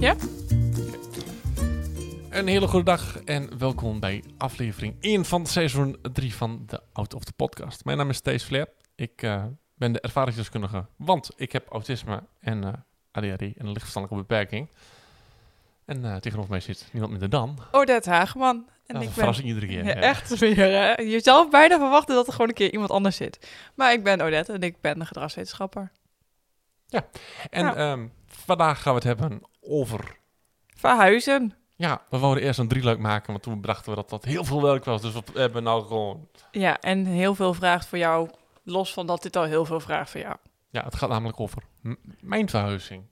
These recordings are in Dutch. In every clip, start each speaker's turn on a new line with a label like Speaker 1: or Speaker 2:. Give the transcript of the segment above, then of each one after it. Speaker 1: Ja?
Speaker 2: Een hele goede dag en welkom bij aflevering 1 van seizoen 3 van de Out of the Podcast. Mijn naam is Thijs Flair. Ik eh, ben de ervaringsdeskundige, want ik heb autisme en eh ADHD en een lichtverstandelijke beperking. En eh, tegenover mij zit niemand minder dan.
Speaker 1: Odette Hageman. En Oh, ik
Speaker 2: dat is een
Speaker 1: ben
Speaker 2: verrassing iedere keer.
Speaker 1: Ja, echt weer. Hè? Je zou bijna verwachten dat er gewoon een keer iemand anders zit. Maar ik ben Odette en ik ben de gedragswetenschapper.
Speaker 2: En
Speaker 1: Nou.
Speaker 2: ehm, vandaag gaan we het hebben over...
Speaker 1: Verhuizen.
Speaker 2: Ja, we wilden eerst een drieluik maken, want toen bedachten we dat dat heel veel werk was. Dus we hebben nou gewoon...
Speaker 1: Ja, en heel veel vraagt voor jou. Los van dat dit al heel veel vraagt voor jou.
Speaker 2: Ja, het gaat namelijk over m- mijn verhuizing.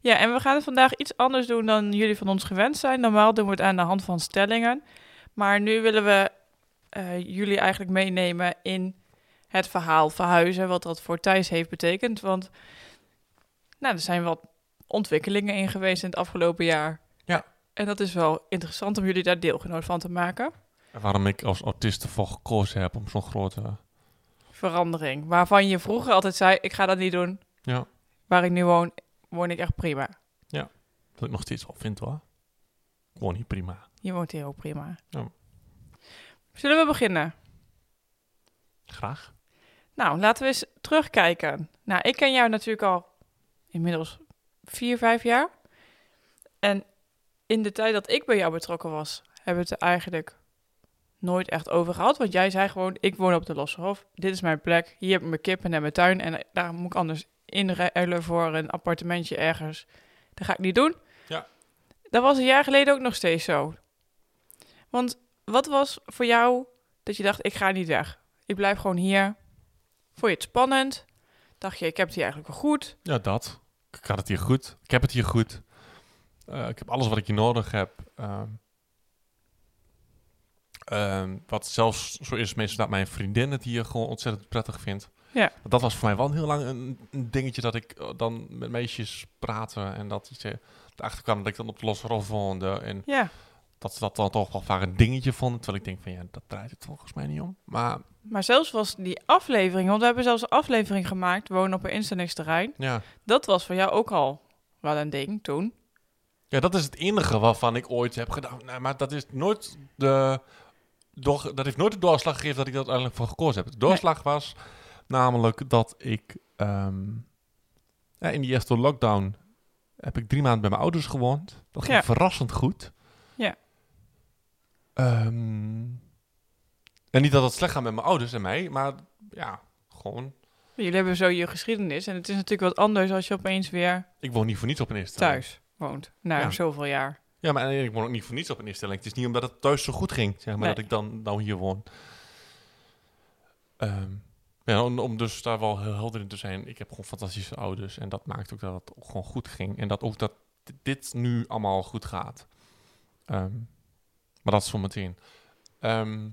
Speaker 1: Ja, en we gaan het vandaag iets anders doen dan jullie van ons gewend zijn. Normaal doen we het aan de hand van stellingen. Maar nu willen we eh, jullie eigenlijk meenemen in het verhaal verhuizen, wat dat voor Thijs heeft betekend. Want nou, er zijn wat ontwikkelingen in geweest in het afgelopen jaar.
Speaker 2: Ja.
Speaker 1: En dat is wel interessant om jullie daar deelgenoot van te maken.
Speaker 2: En waarom ik als autist ervoor gekozen heb om zo'n grote...
Speaker 1: Verandering, waarvan je vroeger altijd zei, ik ga dat niet doen.
Speaker 2: Ja.
Speaker 1: Waar ik nu woon, woon ik echt prima.
Speaker 2: Dat ik nog steeds wel vind hoor. Gewoon niet prima.
Speaker 1: Je woont hier ook prima.
Speaker 2: Ja.
Speaker 1: Zullen we beginnen?
Speaker 2: Graag.
Speaker 1: Nou, laten we eens terugkijken. Nou, ik ken jou natuurlijk al inmiddels vier, vijf jaar. En in de tijd dat ik bij jou betrokken was, hebben we het er eigenlijk nooit echt over gehad. Want jij zei gewoon, ik woon op de Losse Hof. Dit is mijn plek. Hier heb ik mijn kippen en mijn tuin. En daar moet ik anders inruilen voor een appartementje ergens. Dat ga ik niet doen.
Speaker 2: Ja.
Speaker 1: Dat was een jaar geleden ook nog steeds zo. Want wat was voor jou dat je dacht, ik ga niet weg. Ik blijf gewoon hier. Vond je het spannend? Dacht je, ik heb het hier eigenlijk wel goed?
Speaker 2: Ja, dat. Ik had het hier goed. Ik heb het hier goed. Eh, ik heb alles wat ik hier nodig heb. Ehm, ehm, wat zelfs zo is meestal dat mijn vriendin het hier gewoon ontzettend prettig vindt.
Speaker 1: Ja.
Speaker 2: Want Dat was voor mij wel heel lang een, een dingetje dat ik eh, dan met meisjes praatte en dat ze erachter kwam dat ik dan op de losse rof woonde. En
Speaker 1: Ja.
Speaker 2: dat ze dat dan toch wel vaak een dingetje vonden. Terwijl ik denk van ja, dat draait het volgens mij niet om. Maar
Speaker 1: Maar zelfs was die aflevering, want we hebben zelfs een aflevering gemaakt, Wonen op een instellingsterrein.
Speaker 2: ja,
Speaker 1: Dat was voor jou ook al wel een ding toen.
Speaker 2: Ja, dat is het enige waarvan ik ooit heb gedaan. Nou, maar dat is nooit de. Doch, dat heeft nooit de doorslag gegeven dat ik dat uiteindelijk voor gekozen heb. De doorslag was namelijk dat ik. ehm, ja, in die eerste lockdown heb ik drie maanden bij mijn ouders gewoond. Dat ging
Speaker 1: Ja.
Speaker 2: verrassend goed.
Speaker 1: Ja.
Speaker 2: Ehm, en niet dat het slecht gaat met mijn ouders en mij, maar ja, gewoon.
Speaker 1: Jullie hebben zo je geschiedenis en het is natuurlijk wat anders als je opeens weer
Speaker 2: Ik woon niet voor niets op een instelling.
Speaker 1: thuis woont na
Speaker 2: Ja.
Speaker 1: zoveel jaar.
Speaker 2: Ja, maar en ik woon ook niet voor niets op een instelling. Het is niet omdat het thuis zo goed ging, zeg maar,
Speaker 1: Nee.
Speaker 2: dat ik dan nou hier woon. Ehm, ja, om, om dus daar wel heel helder in te zijn. Ik heb gewoon fantastische ouders en dat maakt ook dat het ook gewoon goed ging. En dat ook dat d- dit nu allemaal goed gaat. Ehm, maar dat is voor meteen. Ehm,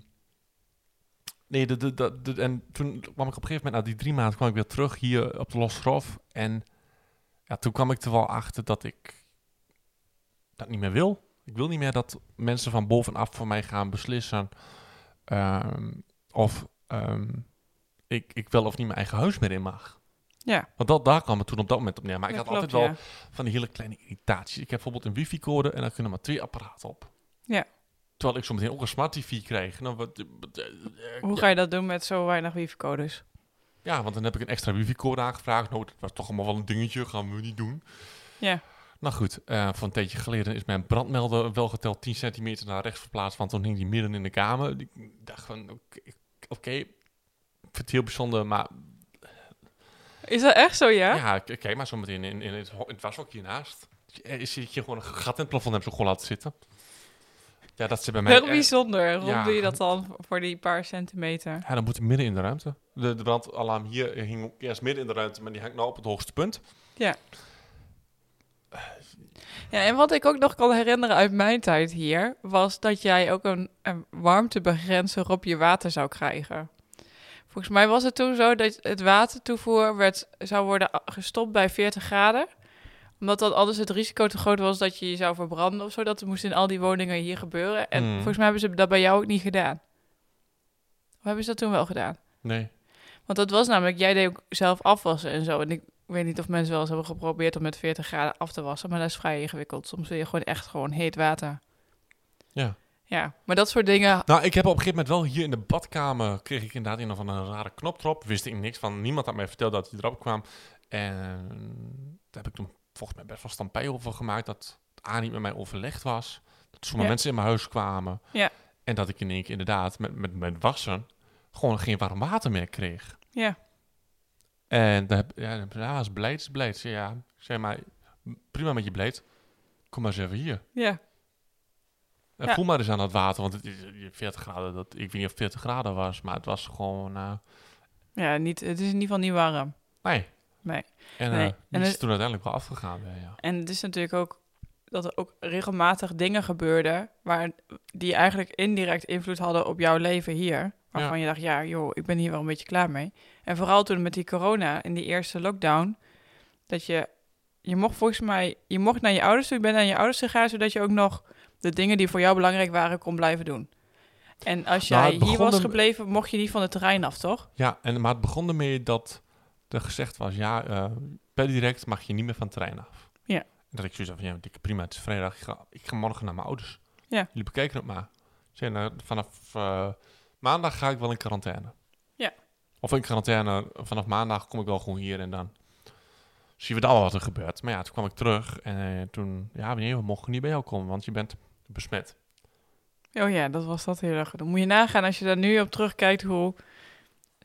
Speaker 2: nee, de, de, de, de- en toen kwam ik op een gegeven moment, na die drie maanden, kwam ik weer terug hier op de Losgrof. En ja, toen kwam ik er wel achter dat ik dat niet meer wil. Ik wil niet meer dat mensen van bovenaf voor mij gaan beslissen ehm, of ehm, ik, ik wel of niet mijn eigen huis meer in mag.
Speaker 1: Ja.
Speaker 2: Want dat, daar kwam het toen op dat moment op neer. Maar Ah, ik
Speaker 1: Dat
Speaker 2: had altijd wel
Speaker 1: klopt,
Speaker 2: van die hele kleine irritaties. Ik heb bijvoorbeeld een wifi-code en daar kunnen maar twee apparaten op.
Speaker 1: Ja.
Speaker 2: Terwijl ik zo meteen ook een smart tv krijg. Nou, wat, eh,
Speaker 1: ja. Hoe ga je dat doen met zo weinig wifi-codes?
Speaker 2: ja, want dan heb ik een extra wifi-code aangevraagd. Nou, dat was toch allemaal wel een dingetje, gaan we niet doen.
Speaker 1: Ja.
Speaker 2: Nou goed, eh van een tijdje geleden is mijn brandmelder wel geteld 10 centimeter naar rechts verplaatst, want toen hing die midden in de kamer. Ik dacht van, oké, oké, ik vind het heel bijzonder, maar
Speaker 1: Is dat echt zo, ja?
Speaker 2: ja, k- kijk maar zo meteen in, in, het, ho- in het washok hiernaast. Er is hier gewoon een gat in het plafond, hebben ze gewoon laten zitten. Ja, dat zit bij mij.
Speaker 1: Heel
Speaker 2: echt-
Speaker 1: bijzonder. Waarom
Speaker 2: eh, Ja.
Speaker 1: doe je dat dan voor die paar centimeter?
Speaker 2: Ja, dan moet hij midden in de ruimte. De, de brandalarm hier hing ook eerst midden in de ruimte, maar die hangt nou op het hoogste punt.
Speaker 1: Ja. Ja, en wat ik ook nog kan herinneren uit mijn tijd hier, was dat jij ook een, een warmtebegrenzer op je water zou krijgen. Volgens mij was het toen zo dat het watertoevoer werd, zou worden a- gestopt bij 40 graden. Omdat dan anders het risico te groot was dat je je zou verbranden of zo. Dat moest in al die woningen hier gebeuren. En
Speaker 2: Mm.
Speaker 1: volgens mij hebben ze dat bij jou ook niet gedaan. Of hebben ze dat toen wel gedaan?
Speaker 2: Nee.
Speaker 1: Want dat was namelijk, jij deed ook zelf afwassen en zo. En ik weet niet of mensen wel eens hebben geprobeerd om met 40 graden af te wassen. Maar dat is vrij ingewikkeld. Soms wil je gewoon echt gewoon heet water.
Speaker 2: Ja.
Speaker 1: Ja, maar dat soort dingen.
Speaker 2: Nou, ik heb op een gegeven moment wel hier in de badkamer... kreeg ik inderdaad een of andere rare knop erop. Wist ik niks van. Niemand had mij verteld dat hij erop kwam. En daar heb ik toen volgens mij best wel stampij over gemaakt... dat A niet met mij overlegd was. Dat sommige
Speaker 1: Ja.
Speaker 2: mensen in mijn huis kwamen.
Speaker 1: Ja.
Speaker 2: En dat ik in één keer inderdaad met, met, met wassen... gewoon geen warm water meer kreeg.
Speaker 1: Ja,
Speaker 2: En daar heb, ja, dan- ja, is blijd, is blijd. Ik zei, Ja, ik zei maar, prima met je blijd. Kom maar eens even hier.
Speaker 1: ja,
Speaker 2: En
Speaker 1: Ja.
Speaker 2: Eh, voel maar eens aan dat water, want het is eh, 40 graden. Dat, ik weet niet of het 40 graden was, maar het was gewoon... eh,
Speaker 1: ja niet, het is in ieder geval niet warm.
Speaker 2: nee.
Speaker 1: Nee.
Speaker 2: En,
Speaker 1: Nee.
Speaker 2: eh die
Speaker 1: En
Speaker 2: is
Speaker 1: het-
Speaker 2: toen uiteindelijk wel afgegaan. weer, ja.
Speaker 1: En het is natuurlijk ook dat er ook regelmatig dingen gebeurden... Waar, die eigenlijk indirect invloed hadden op jouw leven hier. Waarvan je dacht, ja joh, ik ben hier wel een beetje klaar mee. En vooral toen met die corona, in die eerste lockdown... dat je, je mocht volgens mij, je mocht naar je ouders toe... je bent naar je ouders gegaan... zodat je ook nog de dingen die voor jou belangrijk waren kon blijven doen. En als
Speaker 2: Nou,
Speaker 1: jij
Speaker 2: het
Speaker 1: hier
Speaker 2: begon
Speaker 1: was
Speaker 2: er-
Speaker 1: gebleven, mocht je niet van het terrein af, toch?
Speaker 2: Ja, en, maar het begon ermee dat er gezegd was... Ja, eh, per direct mag je niet meer van het terrein af.
Speaker 1: Ja.
Speaker 2: En dat ik zoiets had van, ja, dikke prima, het is vrijdag. Ik ga, ik ga morgen naar mijn ouders.
Speaker 1: Ja.
Speaker 2: Jullie bekijken het maar. Ik zei, nou, vanaf eh, maandag ga ik wel in quarantaine.
Speaker 1: Ja.
Speaker 2: Of in quarantaine, vanaf maandag kom ik wel gewoon hier en dan zien we dan wel wat er gebeurt. Maar ja, toen kwam ik terug en eh, toen... Ja, nee, we mogen niet bij jou komen, want je bent besmet.
Speaker 1: Oh ja, dat was dat heel erg. Dan moet je nagaan als je daar nu op terugkijkt hoe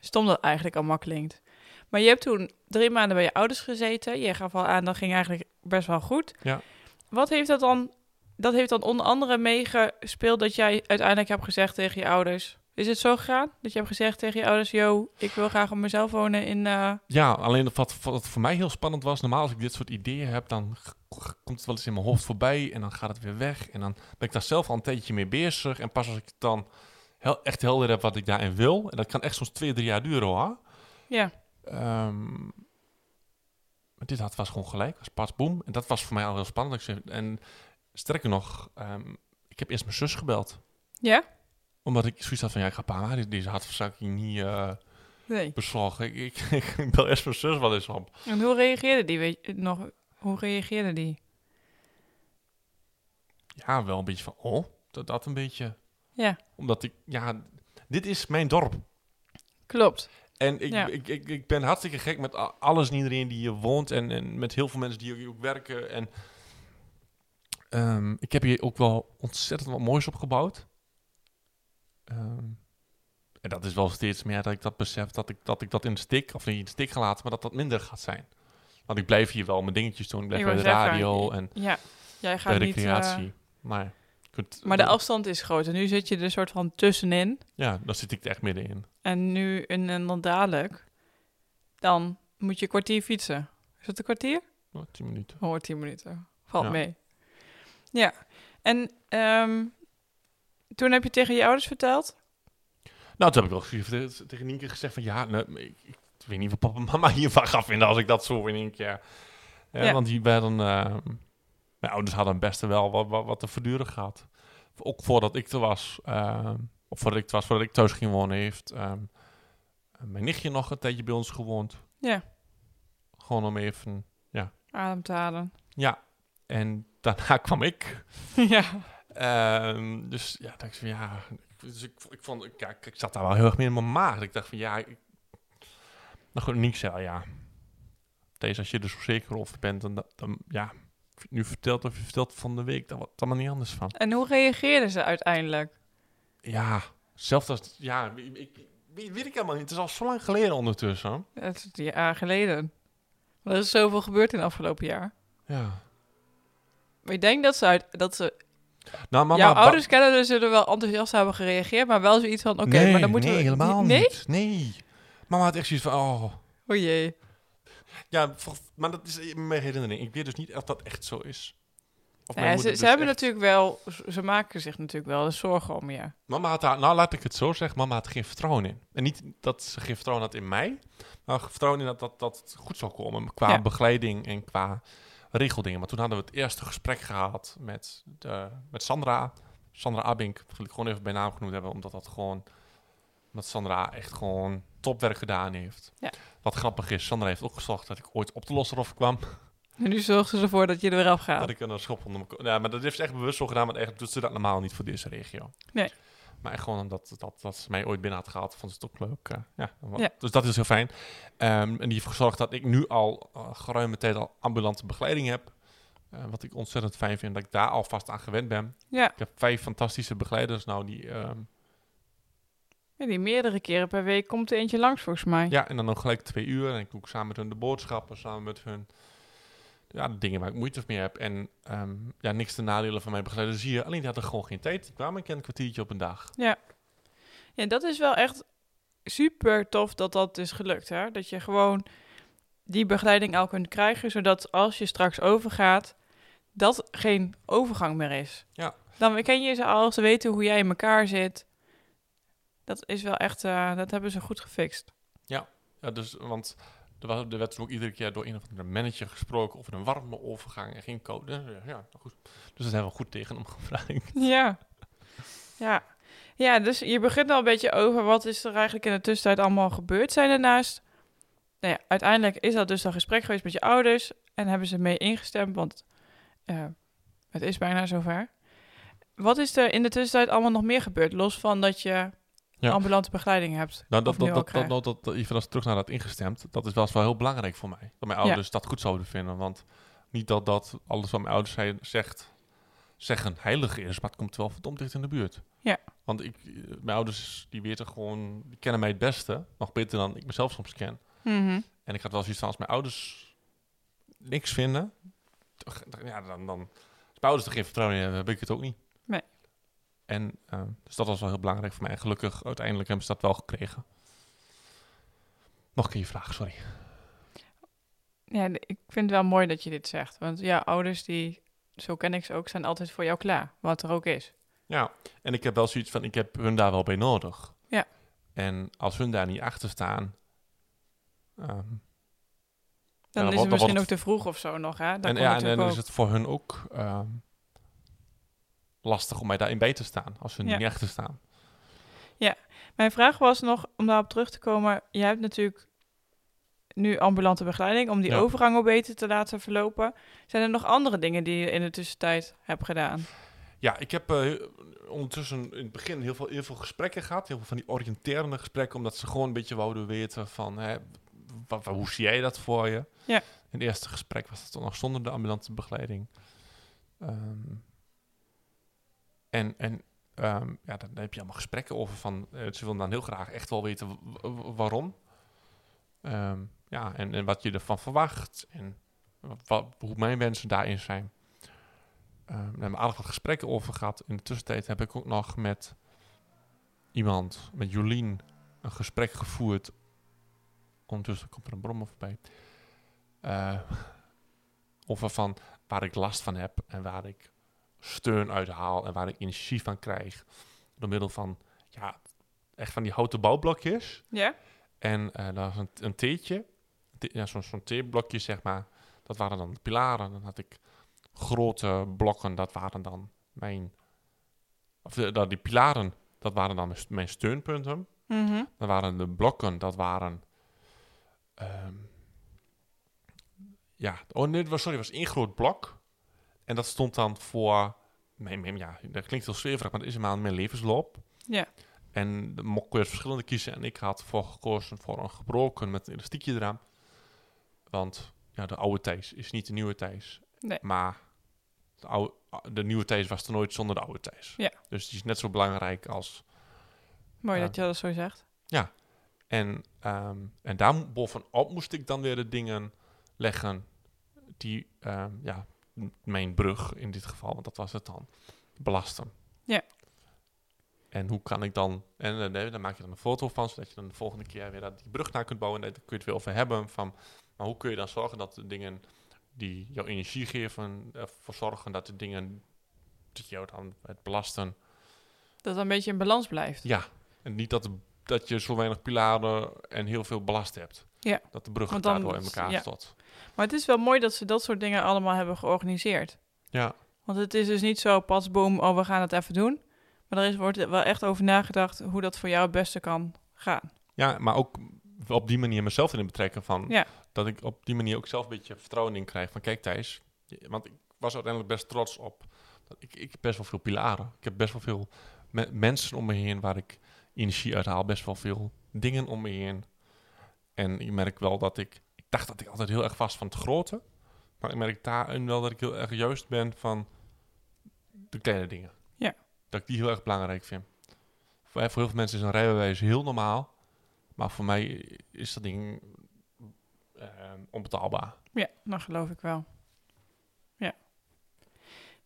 Speaker 1: stom dat eigenlijk allemaal klinkt. Maar je hebt toen drie maanden bij je ouders gezeten. Je gaf al aan, dat ging eigenlijk best wel goed.
Speaker 2: Ja.
Speaker 1: Wat heeft dat dan, dat heeft dan onder andere meegespeeld dat jij uiteindelijk hebt gezegd tegen je ouders... Is het zo gegaan dat je hebt gezegd tegen je ouders... Yo, ik wil graag op mezelf wonen in... eh,
Speaker 2: Ja, alleen wat, wat voor mij heel spannend was, normaal als ik dit soort ideeën heb, dan g- g- komt het wel eens in mijn hoofd voorbij en dan gaat het weer weg. En dan ben ik daar zelf al een tijdje mee bezig. En pas als ik het dan heel, echt helder heb wat ik daarin wil, en dat kan echt soms twee, drie jaar duren hoor.
Speaker 1: Ja.
Speaker 2: Ehm, maar dit had, was gewoon gelijk, was pas boem. En dat was voor mij al heel spannend. Ik zei- En sterker nog, ehm, ik heb eerst mijn zus gebeld.
Speaker 1: Ja?
Speaker 2: Omdat ik zoiets had van, ja, ik ga pa, deze, deze hartverzakking niet eh
Speaker 1: Nee.
Speaker 2: beslagen. Ik, ik, ik bel eerst mijn zus wel eens op.
Speaker 1: En hoe reageerde die weet je, nog? Hoe reageerde die?
Speaker 2: ja, wel een beetje van, oh, dat, dat een beetje.
Speaker 1: Ja,
Speaker 2: Omdat ik, ja, dit is mijn dorp.
Speaker 1: klopt.
Speaker 2: En ik,
Speaker 1: Ja.
Speaker 2: ik, ik, ik ben hartstikke gek met a- alles en iedereen die hier woont. En, en met heel veel mensen die hier ook werken. En ehm, ik heb hier ook wel ontzettend wat moois opgebouwd. Ehm, en dat is wel steeds meer dat ik dat besef. Dat ik dat, ik dat in de stik, of niet in de stik gelaten, maar dat dat minder gaat zijn. Want ik blijf hier wel mijn dingetjes doen. Ik blijf
Speaker 1: Ik
Speaker 2: bij de
Speaker 1: wou zeggen, eh,
Speaker 2: radio en
Speaker 1: Ja, jij gaat
Speaker 2: bij de
Speaker 1: niet... eh,
Speaker 2: creatie. maar, je kunt-
Speaker 1: Maar de afstand is groot. En nu zit je er soort van tussenin.
Speaker 2: Ja, daar zit ik er echt middenin.
Speaker 1: En nu en en dan dadelijk. Dan moet je een kwartier fietsen. Is dat een kwartier?
Speaker 2: Oh, 10 minuten.
Speaker 1: Hoor, tien minuten. Valt
Speaker 2: Ja.
Speaker 1: mee. Ja. En ehm, toen heb je tegen je ouders verteld?
Speaker 2: Nou, toen heb ik wel ge- tegen- tegen Nienke gezegd van... Ja, nee, ik, ik weet niet wat papa en mama hiervan gaan vinden als ik dat zo in één keer... Ja,
Speaker 1: Ja.
Speaker 2: Want die werden... eh, mijn ouders hadden best wel wat, wat, wat te verduren gehad. Ook voordat ik er was. ehm, of voordat ik er was, voordat ik thuis ging wonen heeft... ehm, mijn nichtje nog een tijdje bij ons gewoond.
Speaker 1: Ja.
Speaker 2: Gewoon om even...
Speaker 1: Ademtalen.
Speaker 2: Ja. En daarna kwam ik...
Speaker 1: ja.
Speaker 2: Ehm, dus ja, dacht ik van ja. ik- Dus ik, ik, vond, ik, ja, ik, ik zat daar wel heel erg mee in mijn maag. Ik dacht van ja. Ik, nou goed, niks zei ja. Deze, als je er zo zeker over bent, dan, dan- dan ja. of je het Nu vertelt of je vertelt van de week, dan wordt het allemaal niet anders van.
Speaker 1: En hoe reageerden ze uiteindelijk?
Speaker 2: Ja, zelfs als. Ja, ik, ik, weet- weet ik helemaal niet. Het is al zo lang geleden ondertussen.
Speaker 1: Dat is die jaar geleden. Er is zoveel gebeurd in het afgelopen jaar.
Speaker 2: Ja.
Speaker 1: Maar ik denk dat ze, uit, dat ze
Speaker 2: Nou, mama,
Speaker 1: Jouw
Speaker 2: ba-
Speaker 1: ouders kennen dus zullen wel enthousiast hebben gereageerd, maar wel zoiets van, oké,
Speaker 2: nee,
Speaker 1: maar dan moeten
Speaker 2: nee,
Speaker 1: we...
Speaker 2: helemaal
Speaker 1: Nee?
Speaker 2: niet. Nee. Mama had echt zoiets van, oh,
Speaker 1: O jee.
Speaker 2: Ja, voor- maar dat is eh, mijn herinnering. Ik weet dus niet of dat echt zo is. Of
Speaker 1: Nou
Speaker 2: mijn
Speaker 1: ja, ze
Speaker 2: moeder
Speaker 1: ze
Speaker 2: dus
Speaker 1: hebben
Speaker 2: echt-
Speaker 1: natuurlijk wel, ze- ze maken zich natuurlijk wel eens zorgen om je.
Speaker 2: Mama had haar, nou laat ik het zo zeggen, mama had er geen vertrouwen in. En niet dat ze geen vertrouwen had in mij, maar vertrouwen in dat, dat, dat het goed zou komen qua
Speaker 1: Ja.
Speaker 2: begeleiding en qua regeldingen. Maar toen hadden we het eerste gesprek gehad met, de, met Sandra. Sandra Abink, wil ik gewoon even bij naam genoemd hebben, omdat dat gewoon, omdat Sandra echt gewoon topwerk gedaan heeft.
Speaker 1: Ja.
Speaker 2: Wat grappig is, Sandra heeft ook gezorgd dat ik ooit op de losserhof kwam.
Speaker 1: En nu zorgen ze ervoor dat je er weer afgaat.
Speaker 2: Dat ik een schop onder mijn ko- Ja, maar dat heeft ze echt bewust zo gedaan, want echt doet ze dat normaal niet voor deze regio.
Speaker 1: Nee.
Speaker 2: Maar echt gewoon omdat dat, dat ze mij ooit binnen had gehaald, vond ze het ook leuk. eh, ja, wa-
Speaker 1: Ja.
Speaker 2: Dus dat is heel fijn. Ehm, en die heeft gezorgd dat ik nu al eh, geruime tijd al ambulante begeleiding heb. Eh, wat ik ontzettend fijn vind, dat ik daar alvast aan gewend ben.
Speaker 1: Ja.
Speaker 2: Ik heb vijf fantastische begeleiders nou die... ehm,
Speaker 1: ja, die meerdere keren per week komt er eentje langs volgens mij.
Speaker 2: ja, en dan nog gelijk twee uur. En ik doe ook samen met hun de boodschappen, samen met hun... Ja, de dingen waar ik moeite mee heb. En ehm, ja, niks te nadelen van mijn begeleiders hier. Alleen die hadden gewoon geen tijd. Die kwamen een keer een kwartiertje op een dag.
Speaker 1: Ja, dat is wel echt super tof dat dat is gelukt. Hè? Dat je gewoon die begeleiding al kunt krijgen, zodat als je straks overgaat, dat geen overgang meer is.
Speaker 2: Ja.
Speaker 1: Dan ken je ze al, ze weten hoe jij in elkaar zit. Dat is wel echt, eh, dat hebben ze goed gefixt.
Speaker 2: Ja, dus, want er, was, er werd toen ook iedere keer door een of andere manager gesproken over een warme overgang en geen code. Ja, nou goed. Dus daar zijn we goed tegen hem gevraagd.
Speaker 1: Ja. ja. Ja, dus je begint al een beetje over wat is er eigenlijk in de tussentijd allemaal gebeurd zijn daarnaast. Nou ja, uiteindelijk is dat dus een gesprek geweest met je ouders en hebben ze mee ingestemd, want eh, het is bijna zover. Wat is er in de tussentijd allemaal nog meer gebeurd, los van dat je
Speaker 2: Ja.
Speaker 1: ambulante begeleiding hebt?
Speaker 2: Nou,
Speaker 1: Of
Speaker 2: dat,
Speaker 1: nu al
Speaker 2: dat, dat, dat,
Speaker 1: krijgt.
Speaker 2: dat, dat- even als terug naar dat ingestemd, dat is wel eens wel heel belangrijk voor mij. Dat mijn
Speaker 1: Ja.
Speaker 2: ouders dat goed zouden vinden. Want niet dat, dat alles wat mijn ouders zei, zegt, zeggen heilig is, maar het komt wel verdomd dicht in de buurt.
Speaker 1: Ja.
Speaker 2: Want ik, eh, mijn ouders, die weten gewoon, die kennen mij het beste. Nog beter dan ik mezelf soms ken.
Speaker 1: Mhm.
Speaker 2: En ik had wel zoiets van, als mijn ouders niks vinden, toch, dan- ja, dan, dan, als mijn ouders er geen vertrouwen in hebben, heb ik het ook niet.
Speaker 1: Nee.
Speaker 2: En, eh, dus dat was wel heel belangrijk voor mij. En gelukkig, uiteindelijk hebben ze dat wel gekregen. Nog een keer je vraag, sorry.
Speaker 1: Ja, d- ik vind het wel mooi dat je dit zegt, want ja, ouders die, zo ken ik ze ook, zijn altijd voor jou klaar, wat er ook is.
Speaker 2: Ja, en ik heb wel zoiets van, ik heb hun daar wel bij nodig.
Speaker 1: Ja.
Speaker 2: En als hun daar niet achter staan... ehm,
Speaker 1: Dan
Speaker 2: dan
Speaker 1: is
Speaker 2: wordt- dan
Speaker 1: het
Speaker 2: wordt
Speaker 1: misschien
Speaker 2: het-
Speaker 1: ook te vroeg of zo nog, hè? Dan
Speaker 2: en
Speaker 1: kan
Speaker 2: ja, en
Speaker 1: natuurlijk
Speaker 2: dan
Speaker 1: ook-
Speaker 2: is het voor hun ook ehm, lastig om mij daarin bij te staan, als hun
Speaker 1: Ja.
Speaker 2: niet achter staan.
Speaker 1: Mijn vraag was nog, om daarop terug te komen. Je hebt natuurlijk nu ambulante begeleiding om die
Speaker 2: Ja.
Speaker 1: overgang ook beter te laten verlopen. Zijn er nog andere dingen die je in de tussentijd hebt gedaan?
Speaker 2: Ja, ik heb eh, ondertussen in het begin heel veel, heel veel gesprekken gehad. Heel veel van die oriënterende gesprekken. Omdat ze gewoon een beetje wouden weten van... Hè, wa- wa- hoe zie jij dat voor je?
Speaker 1: Ja.
Speaker 2: In het eerste gesprek was het dan nog zonder de ambulante begeleiding. Ehm, en en ehm, ja, dan heb je allemaal gesprekken over van... eh, ze willen dan heel graag echt wel weten wa- wa- waarom. Ehm, ja, en, en wat je ervan verwacht. En wa- wa- hoe mijn wensen daarin zijn. Ehm, daar hebben we aardig wat gesprekken over gehad. In de tussentijd heb ik ook nog met iemand, met Jolien, een gesprek gevoerd. Ondertussen komt er een brommer voorbij. Eh, over van waar ik last van heb en waar ik steun uit haal en waar ik energie van krijg. Door middel van, ja, echt van die houten bouwblokjes.
Speaker 1: Ja?
Speaker 2: En eh daar was een, een theetje. Thee- ja, zo'n zo'n theeblokje, zeg maar. Dat waren dan de pilaren. Dan had ik grote blokken, dat waren dan mijn... Of de, dat- die pilaren, dat waren dan mijn, st- mijn steunpunten.
Speaker 1: Mhm.
Speaker 2: Dan waren de blokken, dat waren... ehm, ja, oh nee, het was, sorry, het was één groot blok. En dat stond dan voor... Mijn, mijn- ja, dat klinkt heel zweverig, maar dat is helemaal mijn levensloop.
Speaker 1: Ja.
Speaker 2: En de mocht kun je verschillende kiezen. En ik had voor gekozen voor een gebroken met een elastiekje eraan. Want ja, de oude Thijs is niet de nieuwe Thijs.
Speaker 1: Nee.
Speaker 2: Maar de, oude, de nieuwe Thijs was er nooit zonder de oude Thijs.
Speaker 1: Ja.
Speaker 2: Dus die is net zo belangrijk als
Speaker 1: Mooi
Speaker 2: Ja.
Speaker 1: dat je dat zo zegt.
Speaker 2: en, ehm en daar bovenop moest ik dan weer de dingen leggen die, ehm, ja, m- mijn brug in dit geval, want dat was het dan, belasten.
Speaker 1: Ja.
Speaker 2: En hoe kan ik dan... En eh, nee, daar maak je dan een foto van, zodat je dan de volgende keer weer dat die brug naar kunt bouwen. En daar kun je het weer over hebben. Van, maar hoe kun je dan zorgen dat de dingen die jouw energie geven... ervoor zorgen dat de dingen die jou dan het belasten...
Speaker 1: Dat het een beetje in balans blijft.
Speaker 2: Ja, en niet dat, dat je zo weinig pilaren en heel veel belast hebt.
Speaker 1: Ja.
Speaker 2: Dat de brug
Speaker 1: Want dan
Speaker 2: daardoor in
Speaker 1: moet-
Speaker 2: elkaar
Speaker 1: ja.
Speaker 2: stort.
Speaker 1: Maar het is wel mooi dat ze dat soort dingen allemaal hebben georganiseerd.
Speaker 2: Ja,
Speaker 1: Want het is dus niet zo pas boom, oh we gaan het even doen. Maar er is, wordt wel echt over nagedacht hoe dat voor jou het beste kan gaan.
Speaker 2: ja maar ook op die manier mezelf erin betrekken. Van,
Speaker 1: Ja.
Speaker 2: Dat ik op die manier ook zelf een beetje vertrouwen in krijg. Van kijk Thijs, je- want ik was uiteindelijk best trots op. dat Ik, ik heb best wel veel pilaren. Ik heb best wel veel me- mensen om me heen waar ik energie uit haal. Best wel veel dingen om me heen. En ik merk wel dat ik... Ik dacht dat ik altijd heel erg was van het grote. Maar ik merk daarin wel dat ik heel erg juist ben van de kleine dingen.
Speaker 1: Ja.
Speaker 2: Dat ik die heel erg belangrijk vind. Voor, voor heel veel mensen is een rijbewijs heel normaal. Maar voor mij is dat ding eh, onbetaalbaar.
Speaker 1: Ja, dat geloof ik wel. Ja.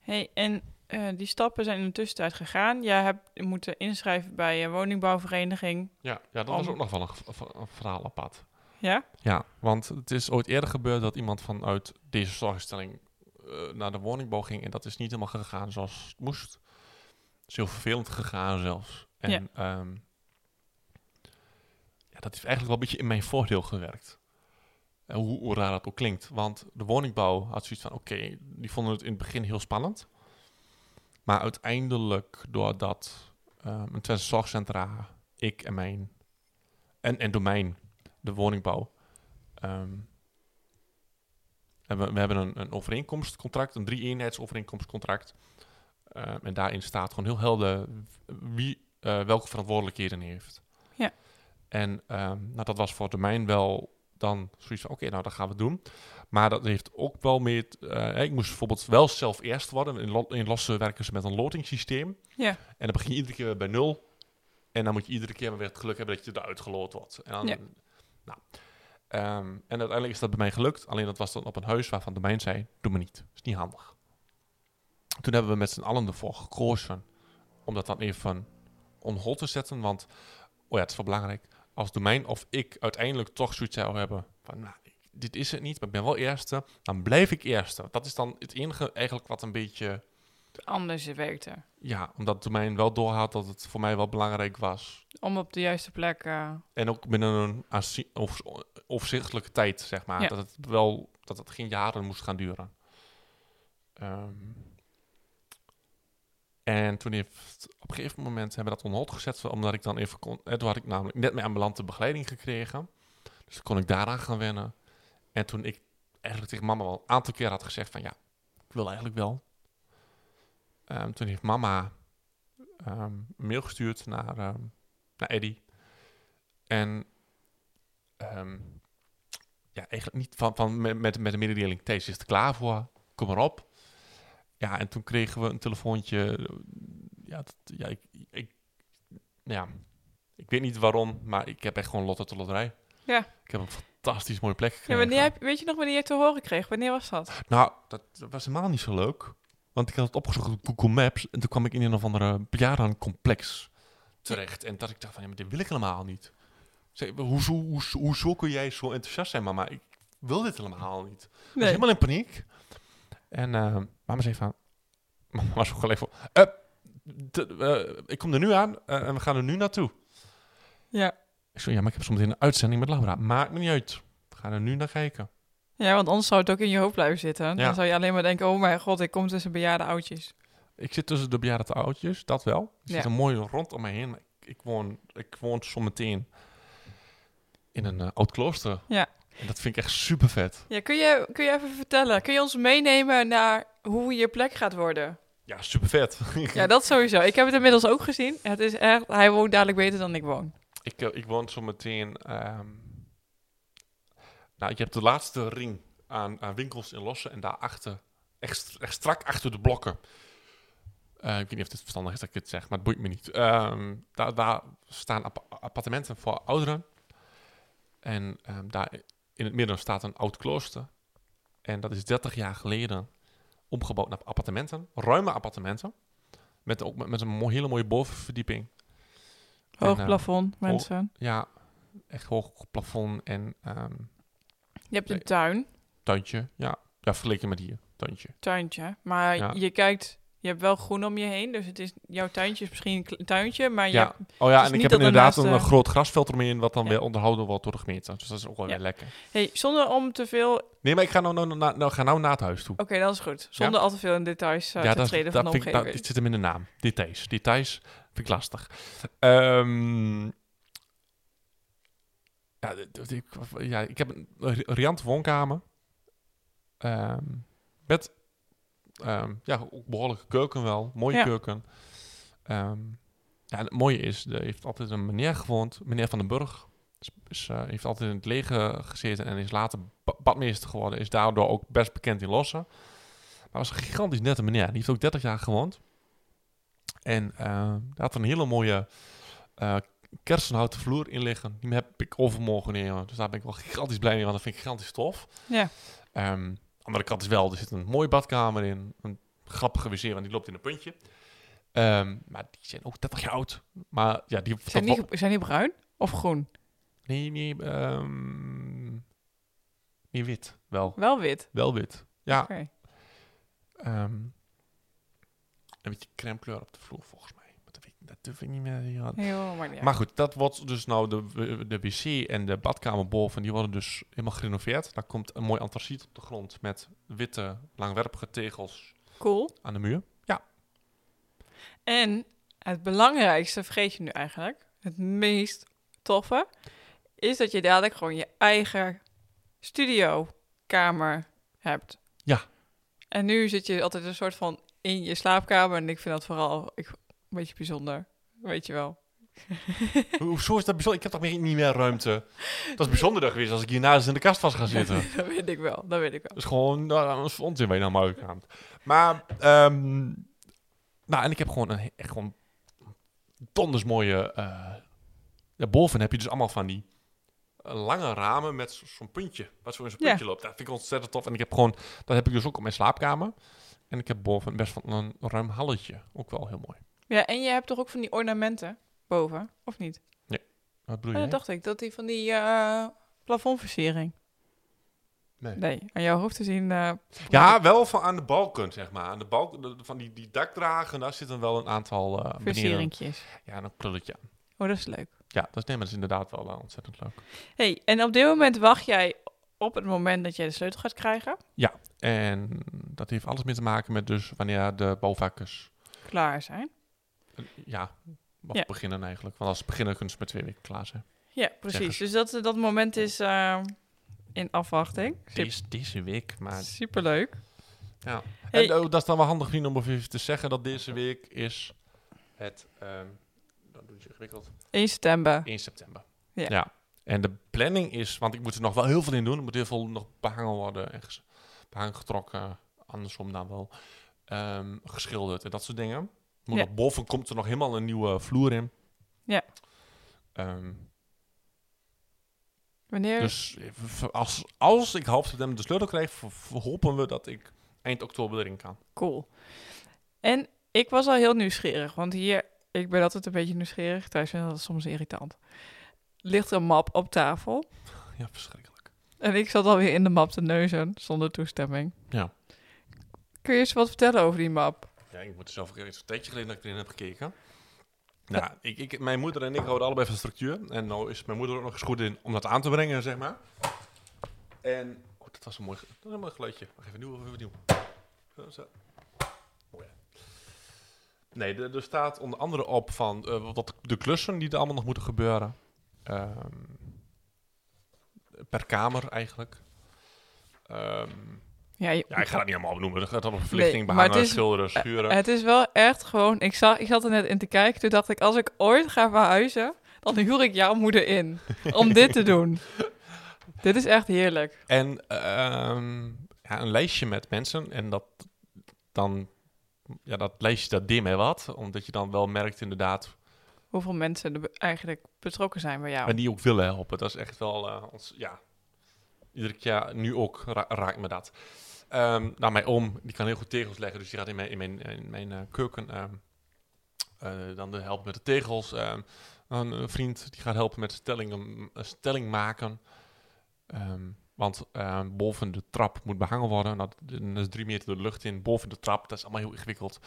Speaker 1: hey, en eh, die stappen zijn in de tussentijd gegaan. Jij hebt moeten inschrijven bij een woningbouwvereniging.
Speaker 2: Ja, ja dat
Speaker 1: Om-
Speaker 2: was ook nog wel een, gev- v- een verhaal apart.
Speaker 1: Ja?
Speaker 2: Ja, want het is ooit eerder gebeurd dat iemand vanuit deze zorginstelling eh, naar de woningbouw ging. En dat is niet helemaal gegaan zoals het moest. Het is heel vervelend gegaan zelfs. En
Speaker 1: Ja.
Speaker 2: ehm, ja, dat heeft eigenlijk wel een beetje in mijn voordeel gewerkt. En hoe, hoe raar dat ook klinkt. Want de woningbouw had zoiets van, oké, die vonden het in het begin heel spannend. Maar uiteindelijk, doordat ehm een Twente zorgcentra, ik en mijn, en, en domein, de woningbouw, ehm, hebben, we hebben een, een overeenkomstcontract, een drie-eenheidsovereenkomstcontract. Ehm, en daarin staat gewoon heel helder wie eh, welke verantwoordelijkheden heeft.
Speaker 1: Ja.
Speaker 2: En ehm, nou, dat was voor domein wel dan zoiets van, oké, nou, dat gaan we doen. Maar dat heeft ook wel meer... t- eh, ik moest bijvoorbeeld wel zelf eerst worden. In, lo- in Lossen werken ze met een lotingsysteem.
Speaker 1: Ja.
Speaker 2: En dan begin je iedere keer weer bij nul. En dan moet je iedere keer maar weer het geluk hebben dat je eruit geloot wordt. En, dan,
Speaker 1: Ja.
Speaker 2: nou, Ehm, en uiteindelijk is dat bij mij gelukt. Alleen dat was dan op een huis waarvan domein zei, doe me niet. is niet handig. Toen hebben we met z'n allen ervoor gekozen om dat dan even on hold te zetten. Want, oh ja, het is wel belangrijk. Als domein of ik uiteindelijk toch zoiets zou hebben van, nou, ik- dit is het niet, maar ik ben wel eerste. Dan blijf ik eerste. Dat is dan het enige eigenlijk wat een beetje,
Speaker 1: Anders werkte.
Speaker 2: ja, omdat domein wel doorhaalt dat het voor mij wel belangrijk was.
Speaker 1: Om op de juiste plek. eh,
Speaker 2: En ook binnen een aanzie- of, overzichtelijke tijd, zeg maar.
Speaker 1: Ja.
Speaker 2: Dat het wel, dat het geen jaren moest gaan duren. Ehm, en toen heeft op een gegeven moment hebben we dat on hold gezet, omdat ik dan even kon. En toen had ik namelijk net mijn ambulante begeleiding gekregen. Dus toen kon ik daaraan gaan wennen. En toen ik eigenlijk tegen mama wel een aantal keer had gezegd van ja, ik wil eigenlijk wel. Ehm, toen heeft mama ehm, een mail gestuurd naar, ehm, naar Eddie. En ehm, ja, eigenlijk niet van, van met, met, met de mededeling, Thijs is er klaar voor, kom maar op. Ja, en toen kregen we een telefoontje. Ja, dat- ja, ik, ik, nou ja, ik weet niet waarom, maar ik heb echt gewoon lot uit de loterij.
Speaker 1: Ja.
Speaker 2: Ik heb een fantastisch mooie plek
Speaker 1: Ja,
Speaker 2: gekregen.
Speaker 1: wanneer heb, weet je nog wanneer je het te horen kreeg? Wanneer was dat?
Speaker 2: Nou, dat was helemaal niet zo leuk. Want ik had het opgezocht op Google Maps en toen kwam ik in een of andere complex terecht. En dat ik dacht van, ja, maar dit wil ik helemaal niet. Zeg, hoezo, hoezo, hoezo kun jij zo enthousiast zijn, mama? Ik wil dit helemaal niet. Ik was
Speaker 1: Nee.
Speaker 2: helemaal in paniek. En eh, mama zei van... Mama was ook gelijk van... eh, d- eh, ik kom er nu aan eh, en we gaan er nu naartoe.
Speaker 1: Ja.
Speaker 2: Ik zei, ja, maar ik heb zometeen een uitzending met Laura. Maakt me niet uit. We gaan er nu naar kijken.
Speaker 1: ja, want anders zou het ook in je hoofd blijven zitten.
Speaker 2: Ja.
Speaker 1: Dan zou je alleen maar denken, oh mijn god, ik kom tussen bejaarde oudjes.
Speaker 2: Ik zit tussen de bejaarde oudjes, dat wel. Er zit
Speaker 1: Ja.
Speaker 2: een mooi rond om me heen. maar Ik, ik woon, ik woon zometeen in een eh, oud klooster.
Speaker 1: Ja.
Speaker 2: En dat vind ik echt super vet.
Speaker 1: Ja, kun je, kun je even vertellen? Kun je ons meenemen naar hoe je plek gaat worden?
Speaker 2: Ja, super vet.
Speaker 1: Ja, dat sowieso. Ik heb het inmiddels ook gezien. Het is echt, hij woont dadelijk beter dan ik woon.
Speaker 2: Ik, eh, ik woon zo meteen. ehm, nou, je hebt de laatste ring aan, aan winkels in Lossen en daarachter, echt, st- echt strak achter de blokken. Eh, ik weet niet of dit verstandig is dat ik dit zeg, maar het boeit me niet. Ehm, daar, daar staan app- appartementen voor ouderen. En ehm, daar in het midden staat een oud klooster. En dat is 30 jaar geleden omgebouwd naar appartementen, ruime appartementen. Met, ook, met met een mooi- hele mooie bovenverdieping.
Speaker 1: Hoog
Speaker 2: En, eh,
Speaker 1: plafond, mensen.
Speaker 2: Ja, echt hoog plafond en ehm
Speaker 1: Je hebt een
Speaker 2: nee.
Speaker 1: tuin,
Speaker 2: tuintje. Ja, ja vergeleken met hier, tuintje.
Speaker 1: tuintje. Maar
Speaker 2: Ja.
Speaker 1: je kijkt, je hebt wel groen om je heen. Dus het is, jouw tuintje is misschien een kle- tuintje, maar je
Speaker 2: Ja,
Speaker 1: hebt-
Speaker 2: oh ja,
Speaker 1: dus
Speaker 2: en ik
Speaker 1: niet
Speaker 2: heb
Speaker 1: dat
Speaker 2: inderdaad een
Speaker 1: ernaast,
Speaker 2: eh,
Speaker 1: eh,
Speaker 2: groot grasveld eromheen, wat dan
Speaker 1: Ja.
Speaker 2: weer onderhouden wordt door de gemeente. Dus dat is ook wel weer
Speaker 1: Ja.
Speaker 2: lekker.
Speaker 1: hey, zonder om te veel... Oké,
Speaker 2: Nee, maar ik ga nou, nou, nou, nou, ga nou naar het huis toe.
Speaker 1: dat is goed. Zonder al te veel in details eh, te
Speaker 2: dat,
Speaker 1: treden
Speaker 2: dat
Speaker 1: van de
Speaker 2: vind ik- dat-
Speaker 1: omgeving.
Speaker 2: dit zit hem in de naam. Details. Details vind ik lastig. Ehm, ja, dit- dit- ik, ja, ik heb een ri- riante woonkamer. Ehm, met ehm, ja, ook behoorlijke keuken wel. Mooie
Speaker 1: Ja.
Speaker 2: keuken. Ehm, ja, en het mooie is, er heeft altijd een meneer gewoond. Meneer Van den Burg. Is, is, eh, heeft altijd in het leger gezeten en is later ba- badmeester geworden. Is daardoor ook best bekend in Lossen. Maar was een gigantisch nette meneer. Die heeft ook 30 jaar gewoond. En eh, daar had een hele mooie eh, kersenhouten vloer in liggen. Die heb ik overmorgen neer. Dus daar ben ik wel gigantisch blij mee, want dat vind ik gigantisch tof.
Speaker 1: Ja.
Speaker 2: Ehm, andere kant is wel, er zit een mooie badkamer in. Een grappige wc, want die loopt in een puntje. Ehm, maar die zijn ook 30 jaar oud. Maar ja, die...
Speaker 1: Zijn
Speaker 2: dat-
Speaker 1: die, zijn die bruin of groen?
Speaker 2: Nee, nee, ehm, nee, wit. Wel,
Speaker 1: Wel wit.
Speaker 2: wel wit. Ja,
Speaker 1: Oké.
Speaker 2: Ehm, een beetje crème kleur op de vloer, volgens mij. Maar dat, weet ik, dat durf ik niet meer. ja.
Speaker 1: Nee, joh, maar niet uit.
Speaker 2: Maar goed, dat wordt dus nou de, w- de wc en de badkamer boven, die worden dus helemaal gerenoveerd. Daar komt een mooi antraciet op de grond met witte, langwerpige tegels
Speaker 1: Cool.
Speaker 2: aan de muur.
Speaker 1: En het belangrijkste, vergeet je nu eigenlijk, het meest toffe, is dat je dadelijk gewoon je eigen studiokamer hebt.
Speaker 2: Ja.
Speaker 1: En nu zit je altijd een soort van in je slaapkamer en ik vind dat vooral ik, een beetje bijzonder, weet je wel.
Speaker 2: Ho- Hoezo is dat bijzonder? Ik heb toch meer- niet meer ruimte? Dat is bijzonderder geweest als ik hiernaast in de kast was gaan zitten.
Speaker 1: dat weet ik wel, dat weet ik wel.
Speaker 2: Dat is gewoon nou, een onzin waar je naar mijn uitkaamt. Maar, ehm, nou, en ik heb gewoon een he- echt gewoon donders mooie. eh ja, boven heb je dus allemaal van die eh, lange ramen met zo- zo'n puntje. Wat zo in zo'n
Speaker 1: Ja.
Speaker 2: puntje loopt. Dat vind ik ontzettend tof. En ik heb gewoon, dat heb ik dus ook op mijn slaapkamer. En ik heb boven best van een ruim halletje. Ook wel heel mooi.
Speaker 1: Ja, en je hebt toch ook van die ornamenten boven, of
Speaker 2: Oh,
Speaker 1: niet?
Speaker 2: Wat
Speaker 1: Oh,
Speaker 2: bedoel je?
Speaker 1: dat dacht ik, dat die van die eh, plafondversiering.
Speaker 2: Nee.
Speaker 1: Nee, aan jouw hoofd te zien. eh,
Speaker 2: Ja, wel van aan de balken, zeg maar. Aan de balken, de- van die, die dakdragen, daar zitten wel een aantal eh beneden.
Speaker 1: versieringjes.
Speaker 2: Ja, en een krulletje aan.
Speaker 1: Oh, dat is leuk.
Speaker 2: Ja, dat is, nee, maar dat is inderdaad wel eh, ontzettend leuk.
Speaker 1: Hey, en op dit moment wacht jij op het moment dat jij de sleutel gaat krijgen.
Speaker 2: En dat heeft alles mee te maken met dus wanneer de bouwvakkers
Speaker 1: Klaar zijn.
Speaker 2: eh, ja, mag
Speaker 1: Ja.
Speaker 2: beginnen eigenlijk. Want als ze beginnen kunnen ze met twee weken klaar zijn.
Speaker 1: Ja,
Speaker 2: Zeg
Speaker 1: precies. Dus
Speaker 2: eens.
Speaker 1: dat, dat moment is eh, in afwachting. Super,
Speaker 2: Deze, deze week, maar...
Speaker 1: superleuk.
Speaker 2: Ja.
Speaker 1: Hey.
Speaker 2: En oh, dat is dan wel handig vrienden om even te zeggen dat deze week is het... ehm dat doe je ingewikkeld.
Speaker 1: 1 september.
Speaker 2: 1 september.
Speaker 1: Ja.
Speaker 2: En de planning is, want ik moet er nog wel heel veel in doen. Er moet heel veel nog behangen worden en ges- behang getrokken. Andersom dan wel. ehm, geschilderd en dat soort dingen. Moet
Speaker 1: Ja.
Speaker 2: nog boven komt er nog helemaal een nieuwe vloer in.
Speaker 1: Ja.
Speaker 2: Ehm,
Speaker 1: Wanneer?
Speaker 2: dus v- v- als, als ik half september de sleutel krijg, v- v- hopen we dat ik eind oktober erin kan.
Speaker 1: Cool. En ik was al heel nieuwsgierig, want hier, ik ben altijd een beetje nieuwsgierig. Thuis vind ik dat soms irritant. Ligt een map op tafel.
Speaker 2: Ja, verschrikkelijk.
Speaker 1: En ik zat alweer in de map te neuzen, zonder toestemming.
Speaker 2: Ja.
Speaker 1: Kun je eens wat vertellen over die map?
Speaker 2: Ja, ik moet er zelf een tijdje geleden dat ik erin heb gekeken. Nou, ik, ik, mijn moeder en ik houden allebei van structuur. En nou is mijn moeder ook nog eens goed in om dat aan te brengen, zeg maar. En, oh, dat was een mooi, ge- dat was een mooi geluidje. Wacht even, nieuw, even nieuw. Zo, zo. Mooi, hè? Nee, er, er staat onder andere op van eh, wat de klussen die er allemaal nog moeten gebeuren. Ehm, per kamer eigenlijk. Ehm,
Speaker 1: Ja, je-
Speaker 2: ja, ik ga dat niet allemaal benoemen. Er gaat allemaal verlichting,
Speaker 1: maar
Speaker 2: behangen,
Speaker 1: het is- eh,
Speaker 2: schilderen, schuren.
Speaker 1: Het is wel echt gewoon. Ik, zag, ik zat er net in te kijken. Toen dacht ik, als ik ooit ga verhuizen, dan huur ik jouw moeder in. Om dit te doen. Dit is echt heerlijk.
Speaker 2: En ehm, ja, een lijstje met mensen. En dat dan. Ja, dat lijstje dat deed mij wat. Omdat je dan wel merkt inderdaad.
Speaker 1: Hoeveel mensen er be- eigenlijk betrokken zijn bij jou.
Speaker 2: En die ook willen helpen. Dat is echt wel eh, ons. Ja. Iedere keer nu ook ra- raakt me dat. Ehm nou, mijn oom, die kan heel goed tegels leggen. Dus die gaat in mijn, in mijn, in mijn eh, keuken ehm, eh, dan de helpen met de tegels. ehm, een, een vriend die gaat helpen met stellingen, een stelling maken. Ehm, want eh, boven de trap moet behangen worden. Nou, dat- dat is drie meter de lucht in. Boven de trap, dat is allemaal heel ingewikkeld.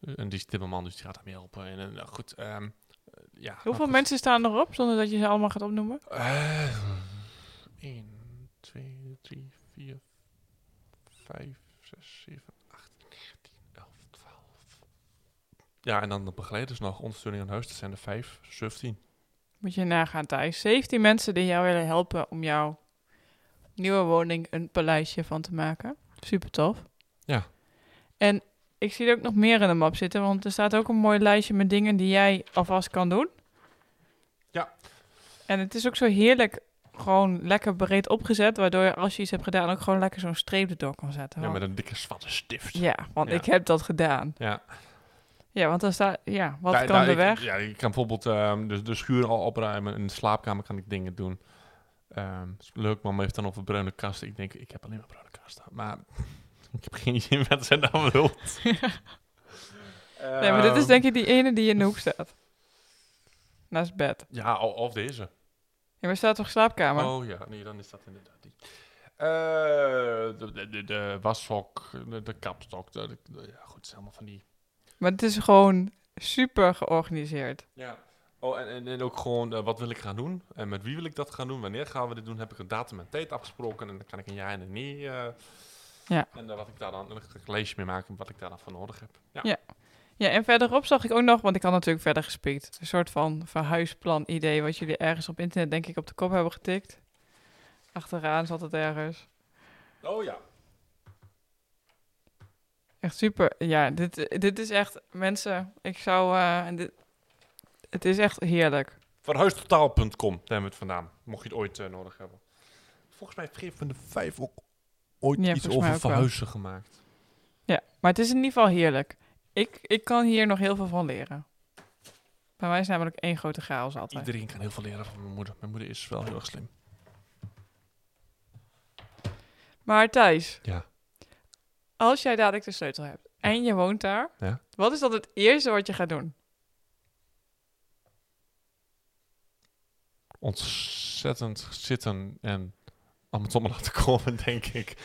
Speaker 2: Eh, en die is timmerman, dus die gaat hem helpen. En, eh, nou, goed, ehm, eh, ja, nou,
Speaker 1: Hoeveel
Speaker 2: goed.
Speaker 1: mensen staan erop, zonder dat je ze allemaal gaat opnoemen?
Speaker 2: Eh, 1, 2, 3, 4, 5, 6, 7, 8, 9, 11, 12. Ja, en dan de begeleiders nog, ondersteuning aan huis, dat zijn er 5, 17.
Speaker 1: Moet je nagaan, Thijs. 17 mensen die jou willen helpen om jouw nieuwe woning een paleisje van te maken. Super tof.
Speaker 2: Ja.
Speaker 1: En ik zie er ook nog meer in de map zitten, want er staat ook een mooi lijstje met dingen die jij alvast kan doen.
Speaker 2: Ja.
Speaker 1: En het is ook zo heerlijk gewoon lekker breed opgezet, waardoor je als je iets hebt gedaan ook gewoon lekker zo'n streep erdoor kan zetten.
Speaker 2: Ja,
Speaker 1: Want-
Speaker 2: met een dikke zwarte stift.
Speaker 1: Oh. Ja, want
Speaker 2: Ja.
Speaker 1: ik heb dat gedaan.
Speaker 2: Ja.
Speaker 1: Ja, want dan staat, ja, wat
Speaker 2: Daar-
Speaker 1: kan
Speaker 2: daar-
Speaker 1: er
Speaker 2: ik-
Speaker 1: weg?
Speaker 2: Ja, ik kan bijvoorbeeld ehm, de, de schuur al opruimen. In de slaapkamer kan ik dingen doen. Ehm, is leuk, mama heeft dan over bruine kasten. Ik denk, ik heb alleen maar bruine kasten. Maar ik heb geen idee wat ze dan wil.
Speaker 1: Nee, maar
Speaker 2: Ehm,
Speaker 1: dit is denk ik die ene die in de hoek staat. Naast bed.
Speaker 2: Ja, o- of deze.
Speaker 1: Ja, maar staat toch slaapkamer?
Speaker 2: Oh ja, nee, dan is dat inderdaad die. Eh, de, de, de, de washok, de, de kapstok. De, de- de- ja, goed, het is allemaal van die...
Speaker 1: Maar het is gewoon super georganiseerd.
Speaker 2: Ja. Oh, en, en, en ook gewoon, eh, wat wil ik gaan doen? En met wie wil ik dat gaan doen? Wanneer gaan we dit doen? Heb ik een datum en tijd afgesproken? En dan kan ik een ja en een nee... eh,
Speaker 1: Ja.
Speaker 2: En dan wat ik daar dan, dan ga ik een lijstje mee maken wat ik daar dan voor nodig heb. Ja.
Speaker 1: Ja. Ja, en verderop zag ik ook nog, want ik had natuurlijk verder gespiekt. Een soort van verhuisplan-idee wat jullie ergens op internet denk ik op de kop hebben getikt. Achteraan zat het ergens.
Speaker 2: Oh ja.
Speaker 1: Echt super. Ja, dit, dit is echt, mensen, ik zou... eh, dit, het is echt heerlijk.
Speaker 2: Verhuistotaal.com, daar hebben we het vandaan. Mocht je het ooit eh, nodig hebben. Volgens mij heeft Geert van de Vijf ook ooit
Speaker 1: Ja,
Speaker 2: iets
Speaker 1: volgens mij ook
Speaker 2: over
Speaker 1: wel.
Speaker 2: verhuizen gemaakt.
Speaker 1: Ja, maar het is in ieder geval heerlijk. Ik, ik kan hier nog heel veel van leren. Bij mij is namelijk één grote chaos altijd.
Speaker 2: Iedereen kan heel veel leren van mijn moeder. Mijn moeder is wel heel erg slim.
Speaker 1: Maar Thijs,
Speaker 2: Ja.
Speaker 1: als jij dadelijk de sleutel hebt en je woont daar,
Speaker 2: Ja.
Speaker 1: wat is dan het eerste wat je gaat doen?
Speaker 2: Ontzettend zitten en aan mijn tommel laten komen, denk ik.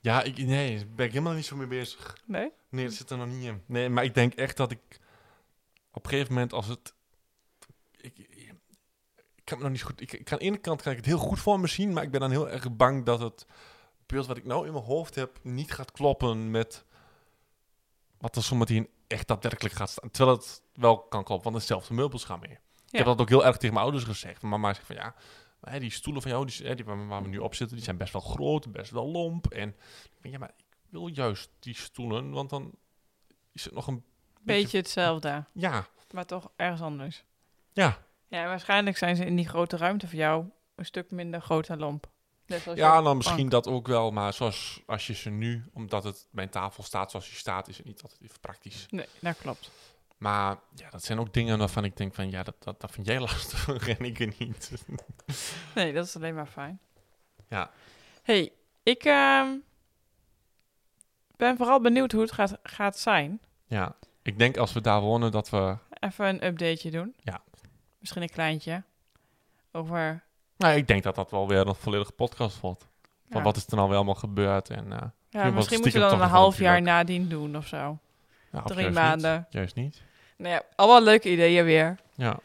Speaker 2: Ja, ik, nee, daar ben ik helemaal niet zo mee bezig.
Speaker 1: Nee?
Speaker 2: Nee, dat zit er nog niet in. Nee, maar ik denk echt dat ik op een gegeven moment als het. Ik, ik kan me nog niet goed. Ik, ik, aan de ene kant kan ik het heel goed voor me zien, maar ik ben dan heel erg bang dat het beeld wat ik nou in mijn hoofd heb niet gaat kloppen met wat er zometeen echt daadwerkelijk gaat staan. Terwijl het wel kan kloppen, want hetzelfde meubels gaan mee. Ik heb dat ook heel erg tegen mijn ouders gezegd. Mijn mama zegt van ja, maar, hè, die stoelen van jou, die, hè, die waar, waar we nu op zitten, die zijn best wel groot, best wel lomp. En ik denk, ja, maar ik wil juist die stoelen, want dan is het nog een
Speaker 1: Beetje hetzelfde,
Speaker 2: ja,
Speaker 1: maar toch ergens anders.
Speaker 2: ja.
Speaker 1: Ja, en waarschijnlijk zijn ze in die grote ruimte voor jou een stuk minder groot en lomp. Net zoals
Speaker 2: Ja,
Speaker 1: je-
Speaker 2: dan misschien dat ook wel. Maar zoals als je ze nu, omdat het mijn tafel staat zoals die staat, is het niet altijd even praktisch.
Speaker 1: Nee, dat klopt.
Speaker 2: Maar ja, dat zijn ook dingen waarvan ik denk van ja, dat, dat, dat vind jij lastig en ik er niet.
Speaker 1: Nee, dat is alleen maar fijn.
Speaker 2: Ja.
Speaker 1: hey, ik ehm, ben vooral benieuwd hoe het gaat, gaat zijn.
Speaker 2: ja, ik denk als we daar wonen dat we...
Speaker 1: Even een updateje doen.
Speaker 2: Ja.
Speaker 1: Misschien een kleintje. Over
Speaker 2: Nou, ik denk dat dat wel weer een volledige podcast wordt. Van
Speaker 1: Ja.
Speaker 2: wat is er nou wel allemaal gebeurd en... eh,
Speaker 1: Ja,
Speaker 2: Ja,
Speaker 1: misschien
Speaker 2: maar
Speaker 1: moeten we
Speaker 2: stiekem
Speaker 1: dan
Speaker 2: toch
Speaker 1: een
Speaker 2: nog wel
Speaker 1: half jaar
Speaker 2: natuurlijk.
Speaker 1: nadien doen of zo.
Speaker 2: ja, of
Speaker 1: Drie
Speaker 2: juist
Speaker 1: maanden.
Speaker 2: Niet. Juist niet.
Speaker 1: Nou ja, allemaal leuke ideeën weer.
Speaker 2: Ja.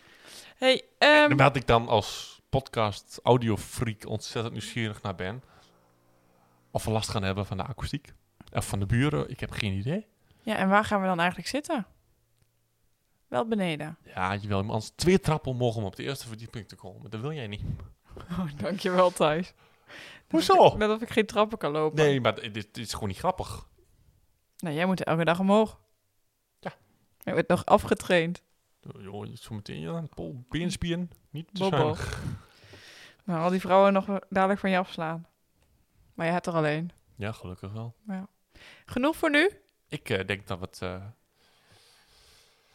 Speaker 1: Hey,
Speaker 2: En
Speaker 1: ehm,
Speaker 2: wat ik dan als podcast audiofreak ontzettend nieuwsgierig naar ben. Of we last gaan hebben van de akoestiek. Of van de buren, ik heb geen idee.
Speaker 1: ja, en waar gaan we dan eigenlijk zitten? Wel beneden.
Speaker 2: Ja, je wil hem anders twee trappen omhoog om op de eerste verdieping te komen. Dat wil jij niet.
Speaker 1: Oh, dankjewel Thijs.
Speaker 2: Hoezo?
Speaker 1: Net of ik geen trappen kan lopen.
Speaker 2: Nee, maar dit, dit is gewoon niet grappig.
Speaker 1: Nou, jij moet elke dag omhoog.
Speaker 2: Ja.
Speaker 1: Je wordt nog afgetraind.
Speaker 2: Joh, je zometeen ja, een pol beenspieren. Niet te
Speaker 1: Bobo.
Speaker 2: zuinig.
Speaker 1: Nou, al die vrouwen nog dadelijk van je afslaan. Maar je hebt er alleen.
Speaker 2: Ja, gelukkig wel.
Speaker 1: Genoeg voor nu?
Speaker 2: Ik eh, denk dat we het... eh,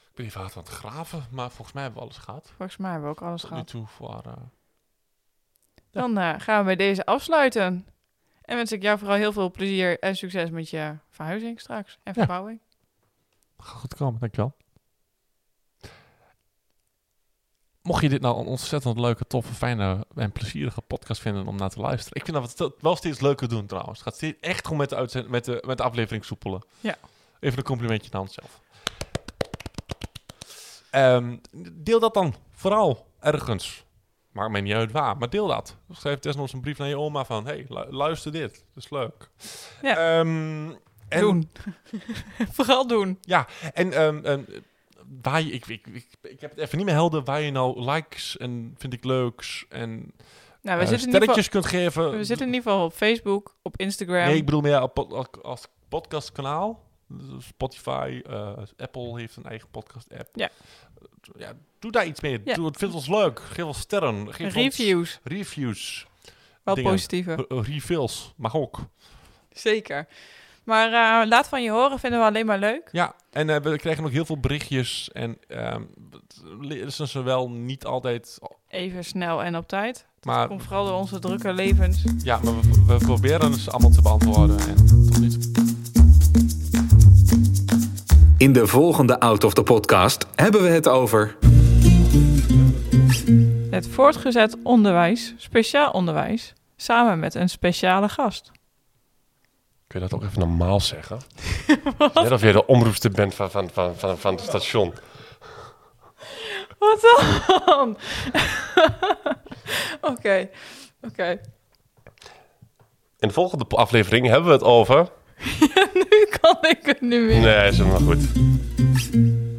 Speaker 2: ik ben even hard aan het graven, maar volgens mij hebben we alles gehad.
Speaker 1: Volgens mij hebben we ook alles
Speaker 2: Tot nu
Speaker 1: gehad.
Speaker 2: toe voor... eh,
Speaker 1: Dan eh, gaan we bij deze afsluiten. En wens ik jou vooral heel veel plezier en succes met je verhuizing straks. En
Speaker 2: Ja.
Speaker 1: verbouwing.
Speaker 2: Gaat goed komen, dankjewel. Mocht je dit nou een ontzettend leuke, toffe, fijne en plezierige podcast vinden om naar te luisteren. Ik vind dat we het wel steeds leuker doen trouwens. Het gaat steeds echt gewoon met de, uitzend- met de, met de aflevering soepelen.
Speaker 1: Ja.
Speaker 2: Even een complimentje naar onszelf. Ehm, deel dat dan vooral ergens. Maakt mij niet uit waar, maar deel dat. Schrijf desnoods een brief naar je oma van... hey, lu- luister dit. Dat is leuk.
Speaker 1: Ja.
Speaker 2: Ehm, en-
Speaker 1: Doen. Vooral doen.
Speaker 2: en ehm, ehm, waar je, ik, ik, ik, ik heb het even niet meer helder waar je nou likes en vind ik leuks en
Speaker 1: Nou, we, zitten
Speaker 2: eh,
Speaker 1: in ieder geval,
Speaker 2: sterretjes kunt geven.
Speaker 1: we zitten in ieder geval op Facebook, op Instagram.
Speaker 2: Nee, ik bedoel meer op- op- als podcastkanaal. Dus Spotify, eh, Apple heeft een eigen podcast-app.
Speaker 1: Ja.
Speaker 2: ja. Doe daar iets mee.
Speaker 1: Ja.
Speaker 2: Doe, vind ons leuk. Geef ons sterren. Geef Ons
Speaker 1: Reviews,
Speaker 2: reviews.
Speaker 1: wel
Speaker 2: dingen.
Speaker 1: positieve.
Speaker 2: Re- Refills. Mag ook.
Speaker 1: Zeker. Maar eh, laat van je horen, vinden we alleen maar leuk.
Speaker 2: Ja, en eh, we kregen ook heel veel berichtjes. En ehm het lezen ze wel niet altijd.
Speaker 1: Even snel en op tijd.
Speaker 2: Maar
Speaker 1: Komt vooral door onze drukke levens.
Speaker 2: Ja, maar we, we proberen ze allemaal te beantwoorden. En tot nu toe.
Speaker 3: In de volgende Out of the Podcast hebben we het over
Speaker 1: Het voortgezet onderwijs, speciaal onderwijs, samen met een speciale gast.
Speaker 4: Kun je dat ook even normaal zeggen? Net of je de omroepster bent van, van, van, van, van het station.
Speaker 1: Wat dan? Oké, oké.
Speaker 4: In de volgende po- aflevering hebben we het over...
Speaker 1: Nu kan ik het niet meer.
Speaker 4: Nee, is helemaal goed.